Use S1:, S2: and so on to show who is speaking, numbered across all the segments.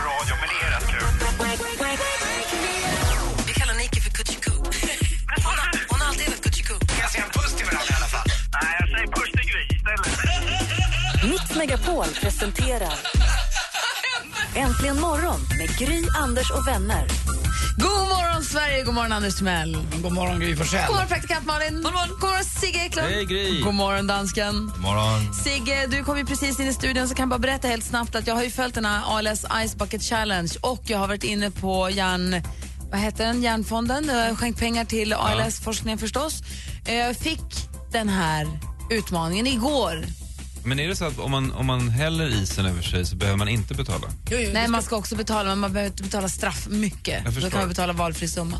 S1: radio, men det är rätt kul.
S2: Vi kallar Nike för Kutjiku. Hon, har- hon har alltid varit Kutjiku.
S1: Kan jag se en puss till varandra i alla fall? Nej, jag säger puss till Gry istället.
S3: Mix Megapol presenterar Äntligen morgon med Gry, Anders och vänner.
S4: God morgon, Sverige! God morgon, Anders Timell.
S5: God morgon Gry Forssell.
S4: God morgon, praktikant Malin. God morgon, Sigge Eklund.
S6: Hej, Gry.
S4: God morgon, dansken.
S6: morgon.
S4: Sigge, du kom ju precis in i studion så kan jag bara berätta helt snabbt att jag har ju följt den här ALS Ice Bucket Challenge och jag har varit inne på järn... Vad heter den? Järnfonden. Jag har skänkt pengar till ALS-forskningen förstås. Eh, Jag fick den här utmaningen igår.
S6: Men är det så att om man, om man häller isen över sig så behöver man inte betala?
S4: Nej, man ska också betala, men man behöver inte betala straff mycket.
S6: Jag
S4: Då
S6: förstår.
S4: kan man betala valfri summa.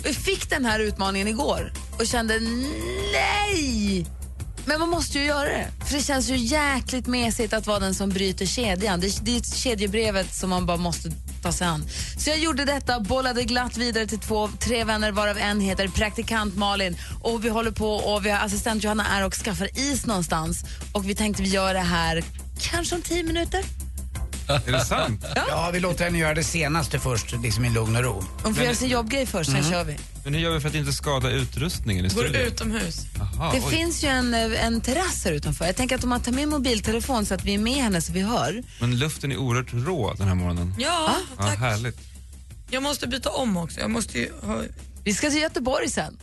S4: Och jag fick den här utmaningen igår och kände nej! Men man måste ju göra det. För det känns ju jäkligt mesigt att vara den som bryter kedjan. Det, det är kedjebrevet som man bara måste ta sig an. Så jag gjorde detta, bollade glatt vidare till två, tre vänner varav en heter praktikant Malin. Och vi håller på och vi har assistent Johanna är och skaffar is någonstans. Och vi tänkte vi gör det här kanske om tio minuter.
S6: Är det sant?
S5: Ja, vi låter henne göra det senaste först, liksom i lugn och ro.
S4: Hon får göra sin jobbgrej först,
S7: Mm.
S4: sen kör vi.
S6: Men hur gör vi för att inte skada utrustningen i studion? Går utomhus? Aha,
S4: Det
S6: oj.
S4: finns ju en, eh, en terrass här utanför. Jag tänker att om man tar med mobiltelefon så att vi är med henne så vi hör.
S6: Men luften är oerhört rå den här morgonen.
S7: Ja,
S6: Ja,
S7: tack.
S6: härligt.
S7: Jag måste byta om också. Jag måste ju ha...
S4: Vi ska till Göteborg sen.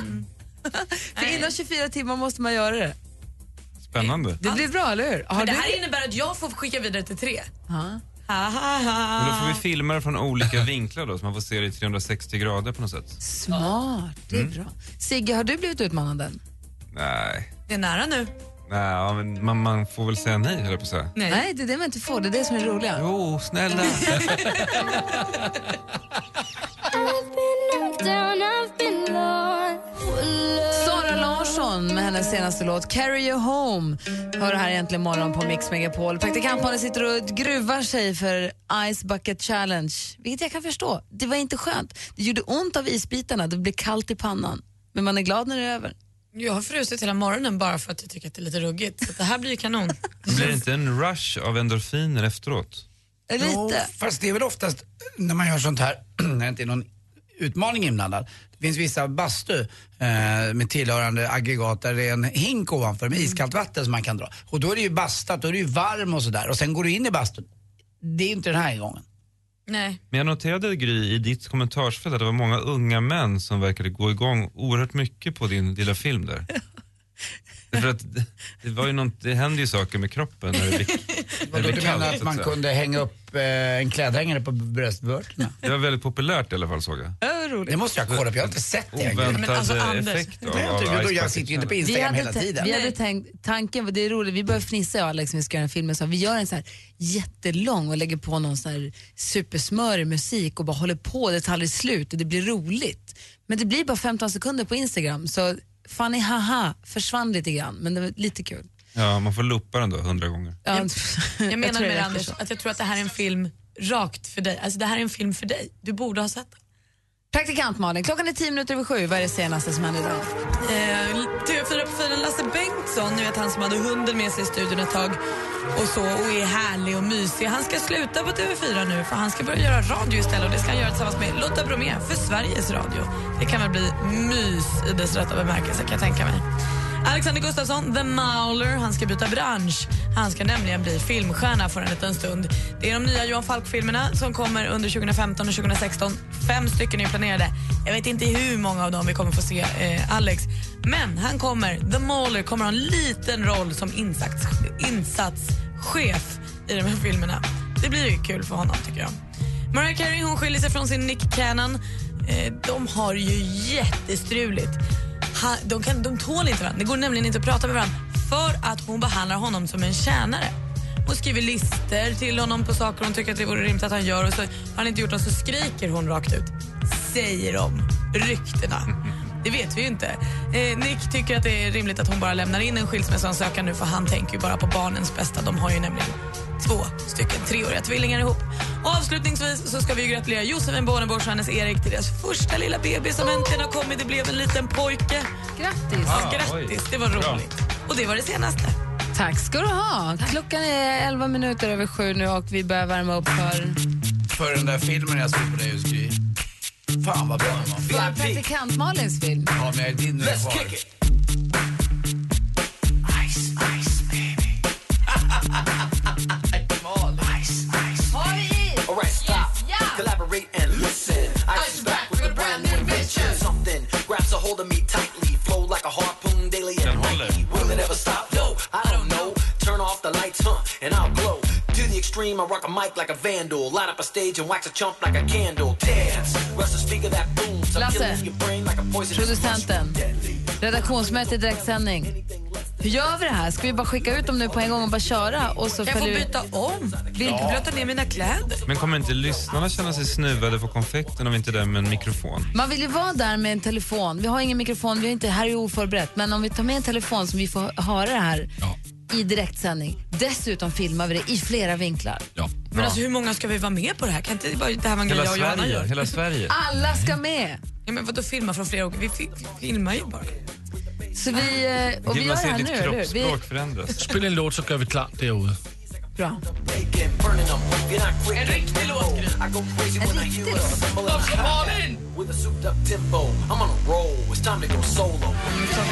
S7: Mm.
S4: För innan 24 timmar måste man göra det.
S6: Spännande.
S4: Det blir bra, eller hur? Har
S7: Men det
S4: du
S7: här innebär att jag får skicka vidare till tre.
S4: Ja.
S7: Ha, ha, ha.
S6: Men då får vi filma det från olika vinklar då så man får se det i 360 grader på något sätt.
S4: Smart, det är
S7: Mm.
S4: bra. Mm. Sigge, har du blivit utmanad än?
S6: Nej.
S7: Det är nära nu.
S6: Nej, ja, men man, man får väl säga nej, höll jag på att säga.
S7: Nej.
S4: Nej, det är det man inte får. Det är det som är roligt.
S6: Jo, snälla.
S4: Sara Larsson med hennes senaste låt Carry You Home. Hör det här egentligen imorgon på Mix Megapol. Praktikantmannen sitter och gruvar sig för Ice Bucket Challenge, vilket jag kan förstå. Det var inte skönt. Det gjorde ont av isbitarna, det blev kallt i pannan. Men man är glad när det är över.
S7: Jag har frusit hela morgonen bara för att jag tycker att det är lite ruggigt. Så det här blir ju kanon.
S6: Blir det inte en rush av endorfiner efteråt?
S5: Jo,
S4: Lite.
S5: fast det är väl oftast när man gör sånt här, när det inte är någon utmaning inblandad. Det finns vissa bastu eh, med tillhörande aggregat där det är en hink ovanför med iskallt vatten som man kan dra. Och då är det ju bastat, då är det ju varm och sådär. Och sen går du in i bastun. Det är ju inte den här gången.
S7: Nej.
S6: Men jag noterade Gry i ditt kommentarsfält att det var många unga män som verkade gå igång oerhört mycket på din lilla film där. För att det- det, var ju något, det händer ju saker med kroppen när det blir, när det
S5: Vadå,
S6: blir
S5: du menar
S6: kallt.
S5: att
S6: så att
S5: man
S6: säga.
S5: kunde hänga upp eh, en klädhängare på bröstvörterna?
S6: Det var väldigt populärt i alla fall såg jag.
S5: Det måste jag kolla på, jag har inte sett det. egentligen.
S6: Oväntad
S7: Men alltså,
S6: eh,
S7: Anders,
S6: effekt av,
S5: Det har jag
S6: av liksom.
S5: inte gjort och
S6: Ice
S5: jag sitter
S6: Bucket
S5: ju inte på
S6: Challenge.
S4: Vi
S5: Instagram hela
S4: hade,
S5: tiden.
S4: tän- vi hade tänkt, tanken, var- det är roligt, vi började fnissa jag och Alex när vi ska göra en film, så vi gör en så här jättelång och lägger på någon sån här supersmörig musik och bara håller på, det tar aldrig slut och det blir roligt. Men det blir bara 15 sekunder på Instagram så Fanny haha försvann lite grann men det var lite kul.
S6: Ja, man får loopa den då hundra gånger.
S4: Ja, tror det
S7: Jag menar med
S4: räcker
S7: det, Anders
S4: så.
S7: att jag tror att det här är en film rakt för dig. Alltså det här är en film för dig. Du borde ha sett den.
S4: Praktikant Malin, klockan är 10 minuter över sju, vad är det senaste som händer idag?
S7: Eh, TV4 profilen Lasse Bengtsson, ni vet han som hade hunden med sig i studion ett tag och så och är härlig och mysig. Han ska sluta på TV4 nu för han ska börja göra radio istället och det ska han göra tillsammans med Lotta Bromé för Sveriges Radio. Det kan väl bli mys i dess rätta bemärkelse kan jag tänka mig. Alexander Gustafsson, The Mauler, han ska byta bransch. Han ska nämligen bli filmstjärna för en liten stund. Det är de nya Johan Falk-filmerna som kommer under 2015 och 2016. Fem stycken är planerade. Jag vet inte hur många av dem vi kommer få se eh, Alex. Men han kommer, The Mauler, kommer ha en liten roll som insats, insatschef i de här filmerna. Det blir ju kul för honom tycker jag. Mariah Carey hon skiljer sig från sin Nick Cannon. Eh, de har ju jättestruligt. Ha, de, kan, de tål inte varandra. Det går nämligen inte att prata med varandra för att hon behandlar honom som en tjänare. Hon skriver listor till honom på saker hon tycker att det vore rimligt att han gör och så har han inte gjort dem så skriker hon rakt ut. Säger de. ryktena. Det vet vi ju inte. Eh, Nick tycker att det är rimligt att hon bara lämnar in en skilsmässoansökan nu för han tänker ju bara på barnens bästa. De har ju nämligen två stycken treåriga tvillingar ihop. Och avslutningsvis så ska vi ju gratulera Josefin Bornebusch och hennes Erik till deras första lilla bebis som äntligen har kommit. Det blev en liten pojke.
S4: Grattis!
S6: Ah,
S7: Grattis,
S6: oj.
S7: det var
S6: Bra.
S7: roligt. Och det var det senaste.
S4: Tack ska du ha. Klockan är 11 minuter över sju nu och vi börjar värma upp för
S5: För den där filmen jag såg på dig just nu. Fan vad bra den var.
S4: för praktikant Malins film.
S5: Ja, men jag är din nu kvar.
S4: Oh,
S6: Den håller.
S4: Lasse, producenten, redaktionsmöte i direktsändning. Hur gör vi det här? Ska vi bara skicka ut dem nu på en gång och bara köra? Och så
S7: Kan jag få
S4: följer vi-
S7: byta om? Vill inte blöta ner mina kläder?
S6: Men kommer inte lyssnarna känna sig snuvade på konfekten om inte det är med en mikrofon?
S4: Man vill ju vara där med en telefon. Vi har ingen mikrofon, vi är inte, här är oförberett. Men om vi tar med en telefon som vi får höra det här i direktsändning. Dessutom filmar vi det i flera vinklar.
S7: Men alltså, hur många ska vi vara med på det här? Kan inte bara det här vara en grej
S6: Hela
S7: jag och Johanna
S6: Sverige.
S7: gör?
S6: Hela Sverige.
S4: Alla ska med!
S7: Ja, men vadå filma från flera olika? Vi fi- filmar ju bara.
S4: Så vi, eh, och vi
S6: Gud,
S4: gör
S6: man
S4: det
S6: ser
S4: här
S6: ditt
S4: nu, eller hur? Vi,
S6: kroppsspråk förändras.
S8: Spil en låt så gör vi klart derude.
S4: bra.
S7: En riktig låt, Gry.
S4: En riktig låt. Klockan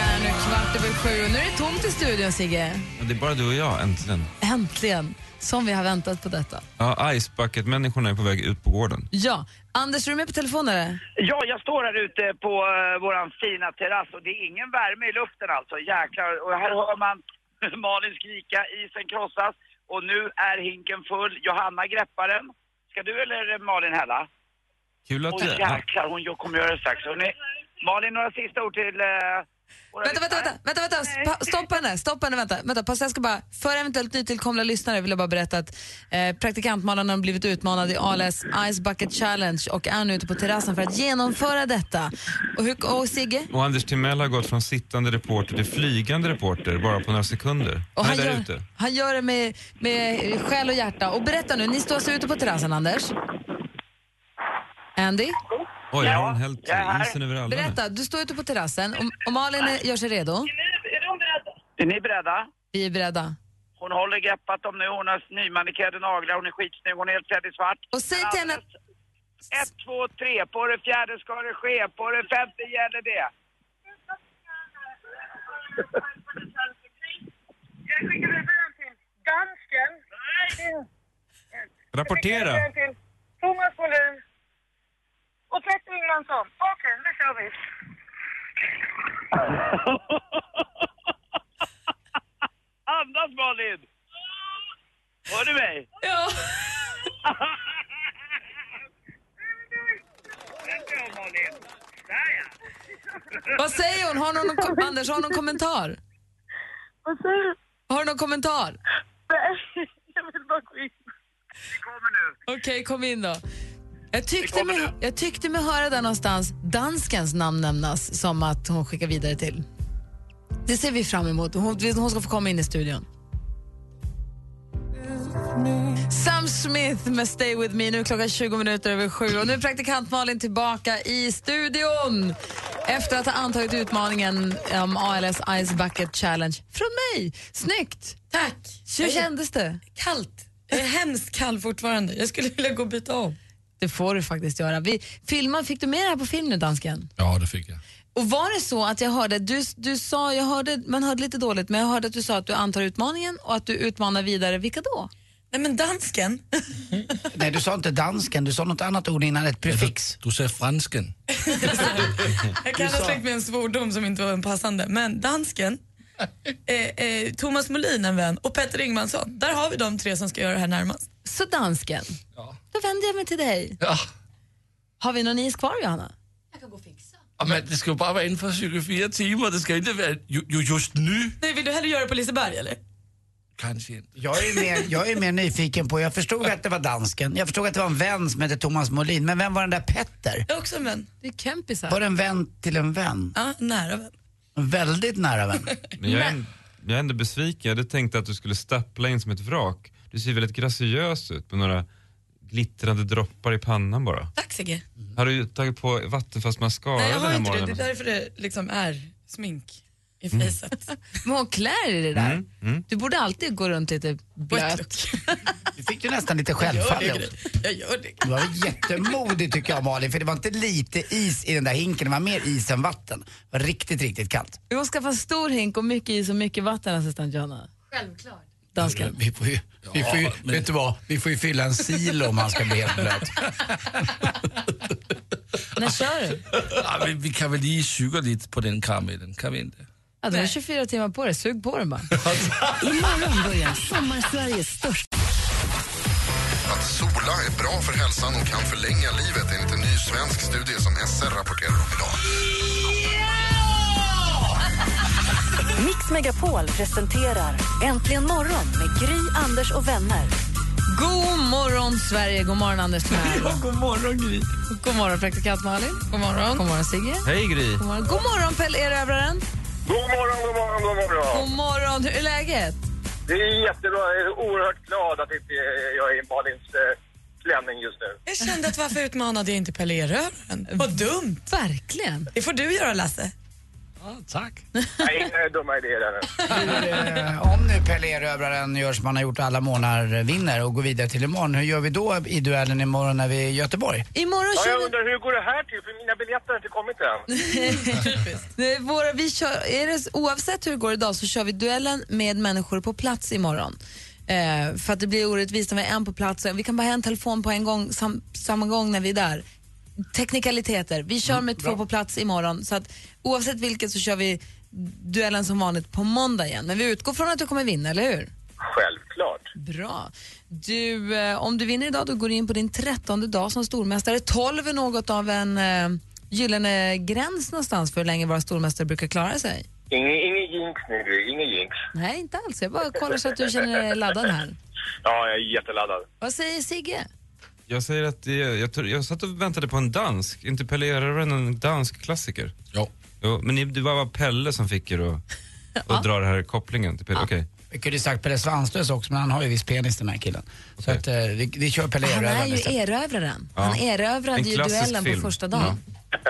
S4: är nu kvart över sju och nu är det tomt i studion, Sigge.
S6: Och Det är bara du och jag, äntligen.
S4: Äntligen, som vi har väntat på detta.
S6: Ja, Ice Bucket-människorna är på väg ut på gården.
S4: Ja, Anders, är du med på telefon eller?
S1: Ja, jag står här ute på eh, våran fina terrass och det är ingen värme i luften alltså. Jäklar. Och här hör man Malin skrika, isen krossas och nu är hinken full. Johanna greppar den. Ska du eller Malin hälla?
S6: Kul att
S1: Och
S6: du... Ja,
S1: jäklar, hon gör- kommer göra det strax. Hörrni, Malin, några sista ord till... Eh, våra
S4: Vänta, vänta, vänta,
S1: lyssnare?
S4: vänta, vänta. Spa- Stoppa henne, stoppa henne, vänta. vänta pass, jag ska bara, för eventuellt nytillkomna lyssnare vill jag bara berätta att eh, praktikantmalarna har blivit utmanade i ALS Ice Bucket Challenge och är nu ute på terrassen för att genomföra detta. Och, hur, och Sigge?
S6: Och Anders Timell har gått från sittande reporter till flygande reporter bara på några sekunder.
S4: Och
S6: han är där
S4: gör,
S6: ute.
S4: han gör det med, med själ och hjärta. Och berätta nu, ni står alltså ute på terrassen, Anders? Andy?
S6: Oj,
S1: Ja,
S6: har hon hällt
S1: jag är här.
S6: isen över alla nu?
S4: Berätta, du står ute på terrassen och, och Malin är- gör sig redo.
S1: Är ni beredda?
S4: Vi är beredda.
S1: Hon håller greppat om nu. Hon har nymanickerade naglar. Hon är skitsnygg. Hon är helt klädd i svart.
S4: Och säg till henne att
S1: Ett, två, tre. På det fjärde ska det ske. På det femte gäller det.
S2: Jag skickar redan till dansken.
S6: Rapportera!
S2: till Thomas Molin. Och Petter Ingmansson. Okej, nu kör vi.
S1: Andas Malin! Hör du mig?
S7: Ja.
S4: Vad säger hon? Har någon, kom- Anders, har hon någon kommentar?
S2: Vad säger du?
S4: Har du någon kommentar?
S2: Nej, jag vill bara gå in.
S4: Okej, kom in då. Jag tyckte, mig, jag tyckte mig höra där någonstans danskens namn nämnas som att hon skickar vidare till. Det ser vi fram emot. Hon, hon ska få komma in i studion. Sam Smith med Stay With Me. Nu är klockan 20 minuter över sju och nu är praktikant Malin tillbaka i studion efter att ha antagit utmaningen om ALS Ice Bucket Challenge från mig. Snyggt!
S7: Tack.
S4: Hur
S7: Jag är
S4: kändes det?
S7: kallt. Jag är hemskt kall fortfarande. Jag skulle vilja gå och byta om.
S4: Det får du faktiskt göra. Vi, filmar, fick du med det här på film nu, dansken?
S8: Ja, det fick jag.
S4: Och var det så att jag hörde, du, du sa, jag hörde, man hörde lite dåligt, men jag hörde att du sa att du antar utmaningen och att du utmanar vidare, vilka då?
S7: Nej, men dansken.
S5: Nej, du sa inte dansken, du sa något annat ord innan, ett prefix.
S8: Du säger fransken.
S7: Jag kan ha släckt med en svordom som inte var en passande. Men dansken, eh, eh, Thomas Molin en vän och Petter Ingmansson. Där har vi de tre som ska göra det här närmast.
S4: Så dansken,
S8: Ja.
S4: då vänder jag mig till dig.
S8: Ja.
S4: Har vi någon is kvar, Johanna?
S8: Ja, Men det ska ju bara vara inden for 24 timer. Det ska inte vara ju, ju, just nu.
S7: Nej, vill du hellre göra det på Liseberg eller?
S8: Kanske inte.
S5: Jag är, mer, jag är mer nyfiken på, jag förstod att det var dansken, jag förstod att det var en vän som hette Thomas Molin, men vem var den där Petter?
S7: Jag är också en vän. Det är kämpisar.
S5: Var det en vän till en vän?
S7: Ja, nära vän.
S5: En väldigt nära vän.
S6: Men jag är, en- jag är ändå besviken. Jag hade tänkt att du skulle stappla in som ett vrak. Du ser väldigt graciös ut med några glittrande droppar i pannan bara.
S7: Tack Sigge.
S6: Har du tagit på vattenfast mascara
S7: Nej, jag
S6: den
S7: har
S6: här
S7: inte det. Det
S6: morgonen?
S7: är därför det liksom är smink i
S6: Mm.
S7: fejset.
S4: Men hon klär i det där.
S6: Mm, mm.
S4: Du borde alltid gå runt lite blöt.
S5: Du fick ju nästan lite
S4: Jag
S5: självfall.
S4: gör det,
S5: också.
S7: Jag gör det.
S5: Du var jättemodig tycker jag Malin, för det var inte lite is i den där hinken, det var mer is än vatten. Det var riktigt, riktigt kallt.
S4: Vi måste skaffa en stor hink och mycket is och mycket vatten, assistent Johanna. Självklart. Dansken.
S5: Vi får ju, vi får ju, vet du vad, vi får ju fylla en silo om han ska bli helt blöt.
S4: När kör du?
S8: Ja, men vi kan väl lige suga lite på den karamellen, kan vi inte?
S4: Ja, du har 24 timmar på dig, sug på den bara.
S3: Imorgon börjar Sommarsveriges största...
S9: Att sola är bra för hälsan och kan förlänga livet enligt en ny svensk studie som SR rapporterar om idag.
S3: Mix Megapol presenterar Äntligen morgon med Gry, Anders och vänner.
S4: God morgon, Sverige. God morgon, Anders Timell.
S7: god morgon, Gry.
S4: God morgon, praktikant Malin. God
S7: morgon.
S4: God morgon, Sigge.
S6: Hej Gry!
S4: God morgon, god morgon Pelle Erövraren.
S10: God morgon, god morgon, god morgon.
S4: God morgon. Hur är läget?
S10: Det är jättebra. Jag är oerhört glad att inte jag är i Malins eh, klänning just nu.
S7: Jag kände att varför utmanade jag inte Pelle Erövraren? Vad dumt.
S4: Verkligen.
S7: Det får du göra Lasse.
S5: tack.
S10: Nej, inga dumma idéer där nu.
S5: Eh, Om nu Pelle Erövraren gör som han har gjort alla månader, vinner och går vidare till imorgon, hur gör vi då i duellen imorgon när vi är i Göteborg?
S4: Imorgon
S10: ja, jag
S4: kör vi-
S10: undrar hur går det här till? För mina biljetter har inte kommit än.
S4: Nej, Våra, vi kör, är det, oavsett hur det går idag så kör vi duellen med människor på plats imorgon. Eh, för att det blir orättvist om vi är en på plats. Vi kan bara ha en telefon på en gång, sam, samma gång när vi är där. Teknikaliteter. Vi kör med två på plats imorgon. Så att, oavsett vilket så kör vi duellen som vanligt på måndag igen. Men vi utgår från att du kommer vinna, eller hur?
S10: Självklart.
S4: Bra. Du, eh, om du vinner idag då går du in på din trettonde dag som stormästare. 12 är något av en eh, gyllene gräns någonstans för hur länge våra stormästare brukar klara sig.
S10: Ingen, ingen jinx nu, Gry. Ingen jinx.
S4: Nej, inte alls. Jag bara kollar så att du känner dig laddad här.
S10: Ja, jag är jätteladdad.
S4: Vad säger Sigge?
S6: Jag säger att det, jag, tror- jag satt och väntade på en dansk. Inte Pelle Erövraren en dansk klassiker?
S8: Ja.
S6: Jo, men ni- det var bara Pelle som fick er att och dra den här kopplingen till Pelle. Okej.
S5: Vi kunde ju sagt Pelle Svanslös också, men han har ju viss penis den här killen. Så att, eh, vi, vi kör Pelle
S4: Han är
S5: Erövraren
S4: ju
S5: istället.
S4: erövraren.
S6: Ja.
S4: Han erövrade
S6: En
S4: ju
S6: klassisk
S4: duellen
S6: film.
S4: på första dagen.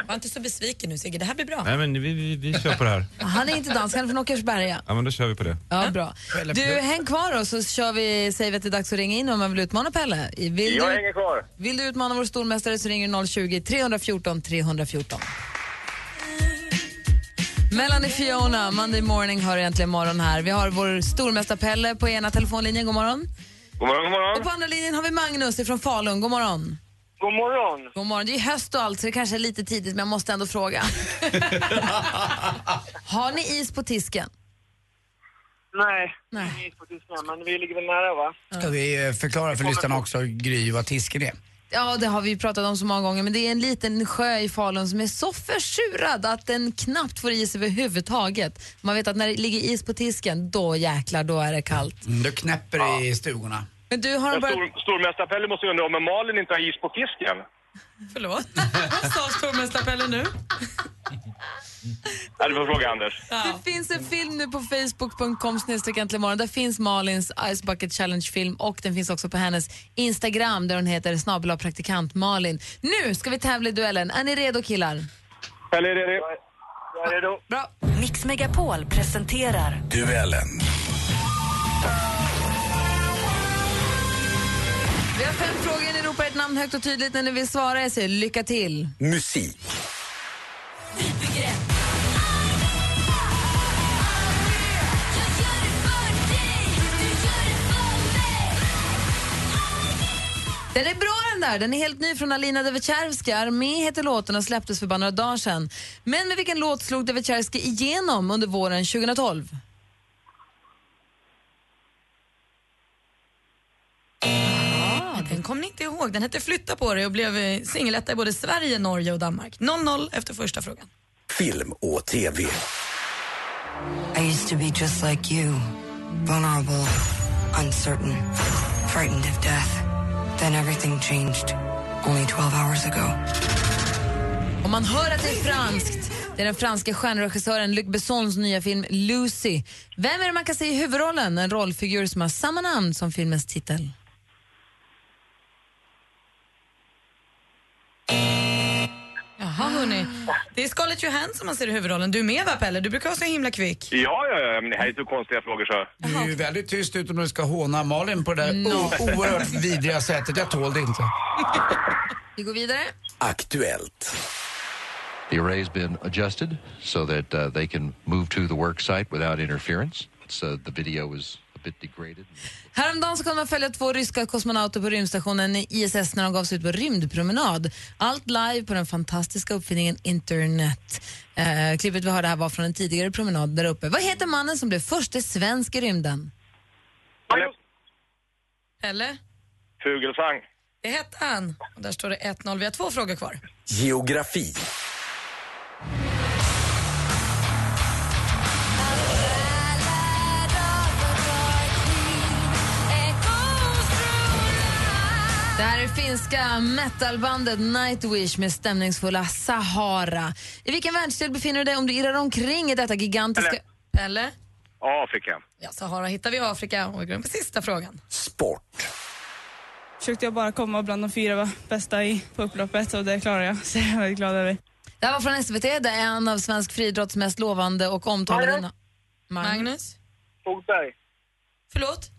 S7: Var inte så besviken nu Sigge, det här blir bra.
S6: Nej men vi, vi, vi kör på det här.
S4: Han är inte dansk, han är från Åkersberga.
S6: Ja men då kör vi på det.
S4: Ja, bra. Du, häng kvar då så kör vi, säger vi att det är dags att ringa in om man vill utmana Pelle. Vill
S10: jag
S4: du-
S10: hänger kvar.
S4: Vill du utmana vår stormästare så ringer du 020 314 314. Melanie Fiona, Monday morning har egentligen morgon här. Vi har vår stormästare Pelle på ena telefonlinjen, god morgon.
S10: God morgon, god
S4: Och på
S10: morgon.
S4: andra linjen har vi Magnus från Falun, god morgon.
S10: God morgon.
S4: God morgon. Det är höst och allt så det kanske är lite tidigt men jag måste ändå fråga. har ni is på tisken?
S10: Nej, Nej. ingen is på tisdagen, men vi ligger väl nära, va?
S5: Ska vi eh, förklara för lyssnarna också, Gry, vad tisken är?
S4: Ja, det har vi ju pratat om så många gånger, men det är en liten sjö i Falun som är så försurad att den knappt får is överhuvudtaget. Man vet att när det ligger is på tisken, då jäklar, då är det kallt.
S5: Mm, du knäpper i stugorna.
S4: Men du, har de börjat...
S10: Stor, Stormästarpelle måste ju undra om Malin inte har is på fisken.
S7: Förlåt. Vad sa stormästarpelle nu?
S10: Ja, du får fråga Anders.
S4: Det finns en film nu på facebook.com snedstreck äntligen morgon. Där finns Malins Ice Bucket Challenge-film och den finns också på hennes Instagram där hon heter snabel praktikant Malin. Nu ska vi tävla i duellen. Är ni redo killar?
S10: Pelle är redo. Jag är redo.
S4: Bra.
S3: Mix Megapol presenterar
S8: Duellen.
S4: Vi har fem frågor. Ni ropar ett namn högt och tydligt när ni vill svara. Jag säger lycka till.
S11: Musik.
S4: Den är bra den där. Den är helt ny från Alina Devecierska. Armé heter låten och släpptes för bara några dagar sedan. Men med vilken låt slog Devecierska igenom under våren 2012?
S7: Ja, den kommer ni inte ihåg. Den hette Flytta på dig och blev eh, singelletta i både Sverige, Norge och Danmark. 0-0 efter första frågan.
S11: Film och TV.
S12: I used to be just like you, vulnerable,
S11: uncertain, frightened of death. Then everything changed only 12 hours ago.
S4: Om man hör att det är franskt, det är den franske stjärnregissören Luc Bessons nya film Lucy. Vem är det man kan se i huvudrollen? En rollfigur som har samma namn som filmens titel.
S7: Jaha, hörni. Det är Scarlett Johansson man ser i huvudrollen. Du är med, va, Pelle? Du brukar vara så himla kvick.
S10: Ja, ja, ja, men det här är så konstiga frågor så.
S5: Du är ju väldigt tyst utom när du ska håna Malin på det
S4: Mm.
S5: där
S10: No.
S5: o- oerhört vidriga sättet. Jag tål det inte.
S4: Vi går vidare.
S12: Aktuellt. The array's been adjusted so that uh, they can move to the work site without interference. So the video is a bit degraded.
S4: Häromdagen så kunde man följa två ryska kosmonauter på rymdstationen ISS när de gav sig ut på rymdpromenad. Allt live på den fantastiska uppfinningen internet. Eh, klippet vi hörde här var från en tidigare promenad där uppe. Vad heter mannen som blev förste svensk i rymden?
S7: Pelle?
S10: Fugelsang.
S7: Det hette han. Och där står det 1-0. Vi har två frågor kvar.
S12: Geografi.
S4: Det här är finska metalbandet Nightwish med stämningsfulla Sahara. I vilken världsdel befinner du dig om du irrar omkring i detta gigantiska...
S7: Pelle?
S10: Afrika.
S7: Ja, Sahara hittar vi i Afrika. Och vi går in på sista frågan.
S12: Sport.
S13: försökte jag bara komma bland de fyra bästa i, på upploppet och det klarade jag. Så jag är väldigt glad över.
S4: Det här var från SVT, där en av svensk friidrotts mest lovande och omtalade... na- Magnus?
S10: Fogberg.
S7: Förlåt?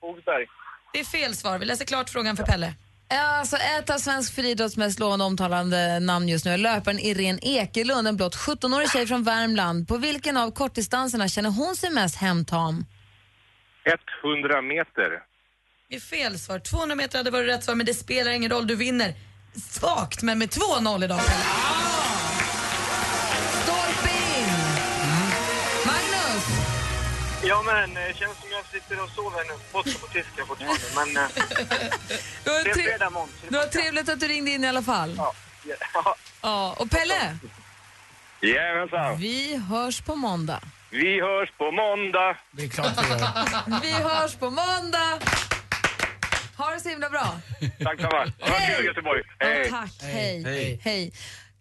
S10: Fogberg.
S7: Det är fel svar. Vi läser klart frågan för Pelle.
S4: Alltså ett av svensk friidrotts mest lovande och omtalande namn just nu är löparen Irene Ekelund, en blott 17-årig tjej från Värmland. På vilken av kortdistanserna känner hon sig mest hemtam?
S10: 100 meter.
S7: Det är fel svar. 200 meter hade varit rätt svar, men det spelar ingen roll. Du vinner. Svagt, men med 2-0 idag, Pelle.
S4: Ah! Stolpe in!
S7: Mm.
S4: Magnus!
S10: Ja, men det känns som jag sitter och sover nu. Borta på tyska fortfarande, men... eh,
S4: Det var,
S10: är
S4: tre-
S10: fredag morgon. så
S4: det var trevligt att du ringde in i alla fall. Ja. Och Pelle,
S10: Jajamensan.
S4: vi hörs på måndag.
S10: Vi hörs på måndag.
S5: Det är klart vi gör.
S4: Vi hörs på måndag! Ha det så himla bra.
S10: Tack så mycket. Hej! Göteborg.
S4: Ja, tack, hej. Hej.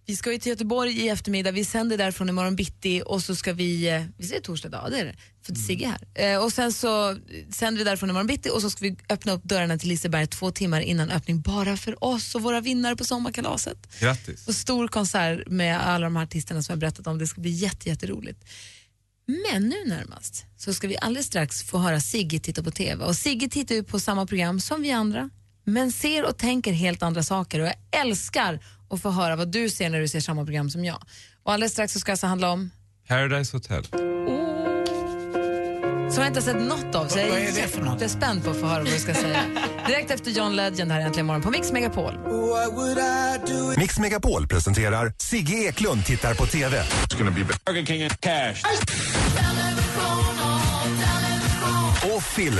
S4: Vi ska ju till Göteborg i eftermiddag. Vi sänder därifrån imorgon bitti och så ska vi, eh, vi ser torsdag dag, det är det, för Sigge är här. Eh, och sen så eh, sänder vi därifrån imorgon bitti och så ska vi öppna upp dörrarna till Liseberg två timmar innan öppning bara för oss och våra vinnare på sommarkalaset.
S6: Grattis.
S4: Och stor konsert med alla de här artisterna som jag berättat om. Det ska bli jätte, jätteroligt. Men nu närmast så ska vi alldeles strax få höra Sigge titta på TV. Och Sigge tittar ju på samma program som vi andra, men ser och tänker helt andra saker. Och jag älskar att få höra vad du ser när du ser samma program som jag. Och alldeles strax så ska det alltså handla om,
S6: Paradise Hotel.
S4: som jag inte har sett något av, så jag
S6: Vad
S4: är,
S6: är det för något?
S4: jättespänd på att få höra vad du ska säga. Direkt efter John Legend här äntligen morgon på Mix Megapol.
S14: Mix Megapol presenterar Sigge Eklund tittar på TV.
S10: Burger King and cash.
S14: Och film.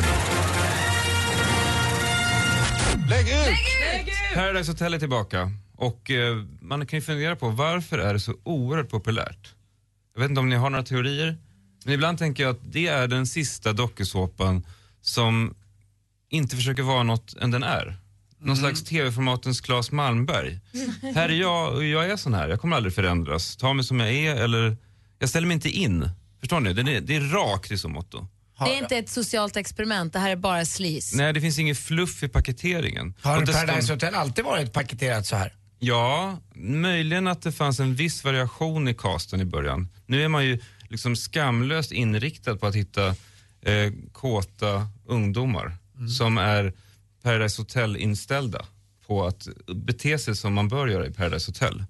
S10: Lägg ut!
S7: Lägg ut!
S6: Paradise Hotel är tillbaka och eh, man kan ju fundera på varför är det så oerhört populärt? Jag vet inte om ni har några teorier, men ibland tänker jag att det är den sista dokusåpan som inte försöker vara något än den är.
S5: Mm.
S6: Någon slags tv-formatens Claes Malmberg. Här är jag och jag är sån här, jag kommer aldrig förändras. Ta mig som jag är eller jag ställer mig inte in. Förstår ni? Det är, det är rakt i så motto.
S4: Det är inte ett socialt experiment, det här är bara sleaze.
S6: Nej, det finns ingen fluff i paketeringen.
S5: Har
S6: Och dessutom-
S5: Paradise Hotel alltid varit paketerat så här?
S6: Ja, möjligen att det fanns en viss variation i casten i början. Nu är man ju liksom skamlöst inriktad på att hitta eh, kåta ungdomar som är Paradise Hotel-inställda på att bete sig som man bör göra i Paradise Hotel.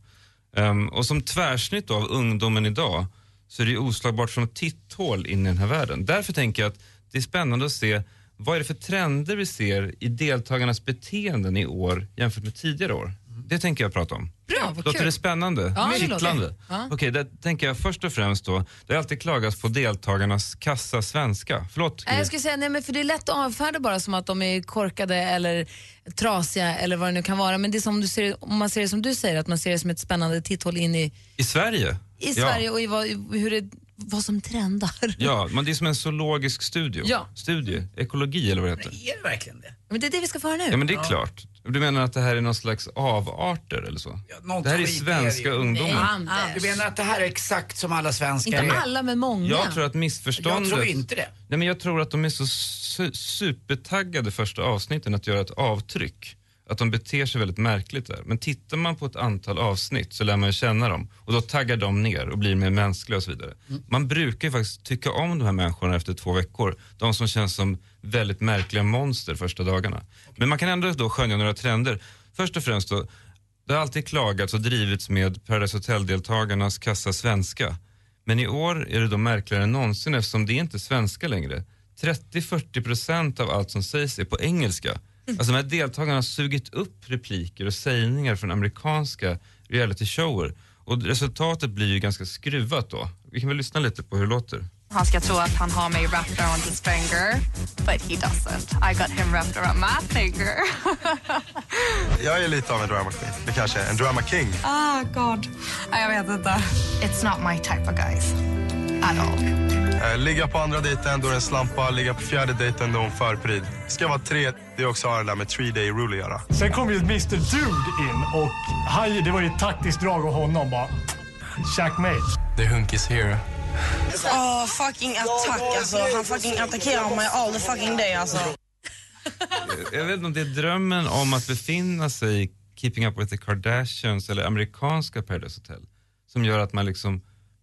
S6: Ehm, och som tvärsnitt av ungdomen idag så är det ju oslagbart som ett titthål in i den här världen. Därför tänker jag att det är spännande att se vad är det för trender vi ser i deltagarnas beteenden i år jämfört med tidigare år. Det tänker jag prata om.
S4: Mm. Bra, vad
S6: Låter
S4: kul.
S6: det spännande?
S4: Ja, det
S6: Kittlande?
S4: låter. Ja.
S6: Okej, där tänker jag först och främst då, det har alltid klagats på deltagarnas kassa svenska. Förlåt?
S4: Nej, jag skulle säga nej, men för det är lätt att avfärda bara som att de är korkade eller trasiga eller vad det nu kan vara. Men det är som du ser, om man ser det som du säger, att man ser det som ett spännande titthål in i,
S6: I Sverige?
S4: i Sverige och i, vad, i hur det vad som trendar.
S6: Ja, men det är som en zoologisk studio.
S4: Ja.
S6: Studie, ekologi eller vad det heter.
S5: Är det verkligen det?
S4: Men det är det vi ska få höra nu.
S6: Ja, men det är klart. Du menar att det här är någon slags avarter eller så?
S5: något
S6: det här är
S5: skit är
S6: svenska
S5: det ju.
S6: ungdomar.
S4: Anders.
S5: Du menar att det här är exakt som alla svenskar
S4: Mm. Inte
S5: är?
S4: alla, men många.
S6: Jag tror att missförståndet...
S5: Jag tror inte det.
S6: Nej, men jag tror att de är så su- supertaggade första avsnitten att göra ett avtryck. Att de beter sig väldigt märkligt där. Men tittar man på ett antal avsnitt så lär man ju känna dem. Och då taggar de ner och blir mer mänskliga och så vidare. Man brukar ju faktiskt tycka om de här människorna efter två veckor. De som känns som väldigt märkliga monster första dagarna. Men man kan ändå då skönja några trender. Först och främst då, det har alltid klagats och drivits med Paradise Hotel-deltagarnas kassa svenska. Men i år är det då märkligare än någonsin eftersom det är inte svenska längre. 30-40 procent av allt som sägs är på engelska. Alltså de här deltagarna har sugit upp repliker och sägningar från amerikanska reality-shower. Och resultatet blir ju ganska skruvat då. Vi kan väl lyssna lite på hur det låter.
S15: Han ska tro att han har mig wrapped around his finger, but he doesn't. I got him wrapped around my finger.
S16: Jag är lite av en drama queen. Det kanske är en drama king.
S15: ah, God. Nej, Jag vet inte. It's not my type of guys. At all.
S16: Eh, Ligga på andra dejten, då är det en slampa. Ligga på fjärde dejten, då är hon förpryd. Ska vara tre. Det är också har det där med three day rule att göra.
S17: Sen kom ju Mr Dude in och han, det var ju ett taktiskt drag av honom bara. Checkmate.
S16: The hunk is here.
S18: Åh, fucking attack alltså. Han fucking attackerar mig all the fucking day alltså.
S6: Jag vet inte om det är drömmen om att befinna sig i Keeping Up With The Kardashians eller amerikanska Paradise Hotel som gör att man liksom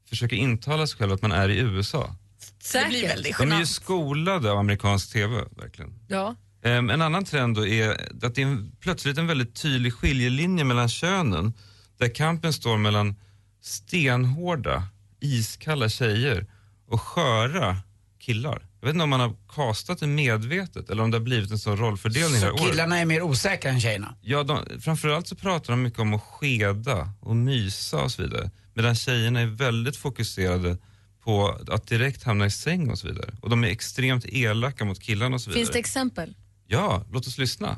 S6: försöker intala sig själv att man är i USA.
S4: Säkert. Det blir väldigt
S6: De är ju skolade av amerikansk TV, verkligen.
S4: Ja.
S6: Ehm, en annan trend då är att det är en, plötsligt en väldigt tydlig skiljelinje mellan könen där kampen står mellan stenhårda, iskalla tjejer och sköra killar. Jag vet inte om man har kastat det medvetet eller om det har blivit en sån rollfördelning här
S5: Så
S6: året.
S5: killarna är mer osäkra än tjejerna?
S6: Ja, de, framförallt så pratar de mycket om att skeda och mysa och så vidare. Medan tjejerna är väldigt fokuserade på att direkt hamna i säng och så vidare. Och de är extremt elaka mot killarna och så vidare.
S4: Finns det exempel?
S6: Ja, låt oss lyssna.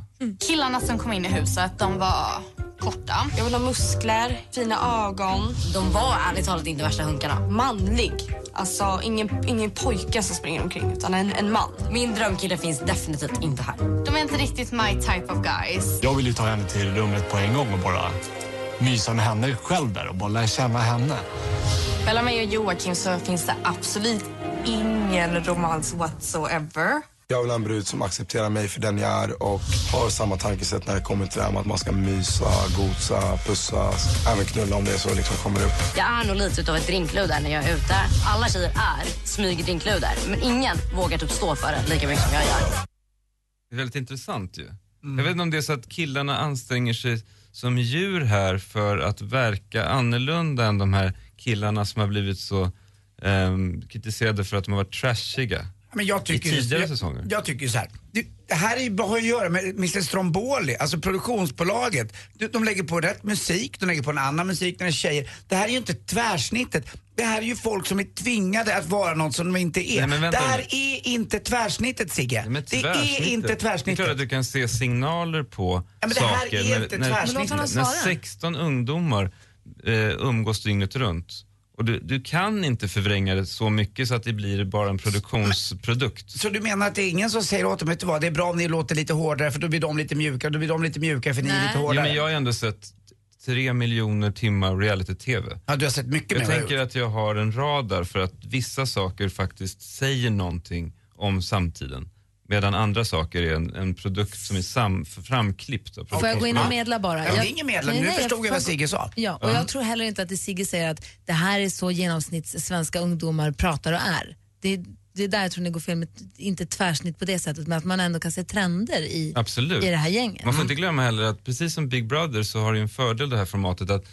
S15: Killarna som kom in i huset, de var korta. Jag vill ha muskler, fina ögon.
S19: De var ärligt talat inte värsta hunkarna. Manlig. Alltså ingen, ingen pojke som springer omkring utan en, en man. Min drömkille finns definitivt inte här.
S15: De är inte riktigt my type of guys.
S17: Jag vill ju ta henne till rummet på en gång och bara mysa med henne själv där och bara lära känna henne.
S19: Mellan mig och Joakim så finns det absolut ingen romans whatsoever.
S16: Jag vill ha en brud som accepterar mig för den jag är och har samma tankesätt när det kommer till det här med att man ska mysa, gosa, pussas, även knulla om det så liksom kommer upp.
S19: Jag är nog lite utav ett drinkluder när jag är ute. Alla tjejer är smygdrinkluder, men ingen vågar typ stå för det lika mycket som jag gör.
S6: Det är väldigt intressant ju.
S5: Mm.
S6: Jag vet inte om det är så att killarna anstränger sig som djur här för att verka annorlunda än de här killarna som har blivit så ehm, kritiserade för att de har varit trashiga
S5: Men jag tycker,
S6: i tidigare
S5: jag,
S6: säsonger.
S5: Jag tycker så här. Det, det här är ju bara att göra med Mr Stromboli, alltså produktionsbolaget. De, de lägger på rätt musik, de lägger på en annan musik när det är tjejer. Det här är ju inte tvärsnittet. Det här är ju folk som är tvingade att vara något som de inte är.
S6: Nej, men
S5: det
S6: vänta
S5: här
S6: nu.
S5: är inte tvärsnittet Sigge. det är inte
S6: Det är klart att
S5: tvärsnittet.
S6: du kan se signaler på
S5: Ja, men det här
S6: saker.
S5: är inte tvärsnitt. Men låt honom
S6: när,
S5: svara.
S6: när 16 ungdomar eh, umgås dygnet runt och du, du kan inte förvränga det så mycket så att det blir bara en produktionsprodukt.
S5: Så du menar att det är ingen som säger åt dem, vet du vad, det är bra om ni låter lite hårdare för då blir de lite mjukare, då blir de lite mjukare för ni är lite
S6: Ja,
S5: hårdare.
S6: men jag har ändå sett tre miljoner timmar reality-tv.
S5: Ja, du har sett mycket
S6: jag
S5: mer än vad jag
S6: tänker att jag har en radar för att vissa saker faktiskt säger någonting om samtiden. Medan andra saker är en, en produkt som är sam, framklippt. av
S4: Får jag gå in och
S6: produktionsbolaget.
S4: medla bara?
S6: Ja, men
S4: Jag-
S6: det är ingen medlan. Nu förstod jag vad Sigge sa.
S4: Ja, och
S6: Ja.
S4: jag tror heller inte att det Sigge säger att det här är så genomsnitts svenska ungdomar pratar och är. Det, det är där jag tror ni går fel, med, inte tvärsnitt på det sättet, men att man ändå kan se trender i,
S6: Absolut.
S4: i det här gänget. Mm.
S6: Man får inte glömma heller att precis som Big Brother så har det ju en fördel det här formatet att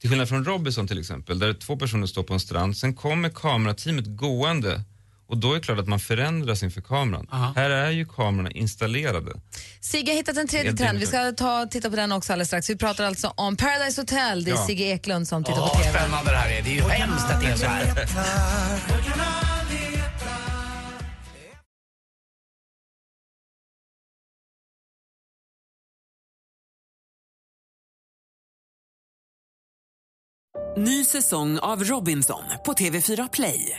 S6: till skillnad från Robinson till exempel där två personer står på en strand, sen kommer kamerateamet gående och då är det klart att man förändras inför kameran. Här är ju kamerorna installerade.
S4: Sigge har hittat en tredje
S6: Helt
S4: trend, vi ska ta, titta på den också alldeles strax. Vi pratar alltså om Paradise Hotel, det är
S5: Ja.
S4: Sigge Eklund som tittar på
S5: Åh,
S4: TV.
S5: spännande det här är. Det är ju hemskt att det är så här.
S20: Ny säsong av Robinson på TV4 Play.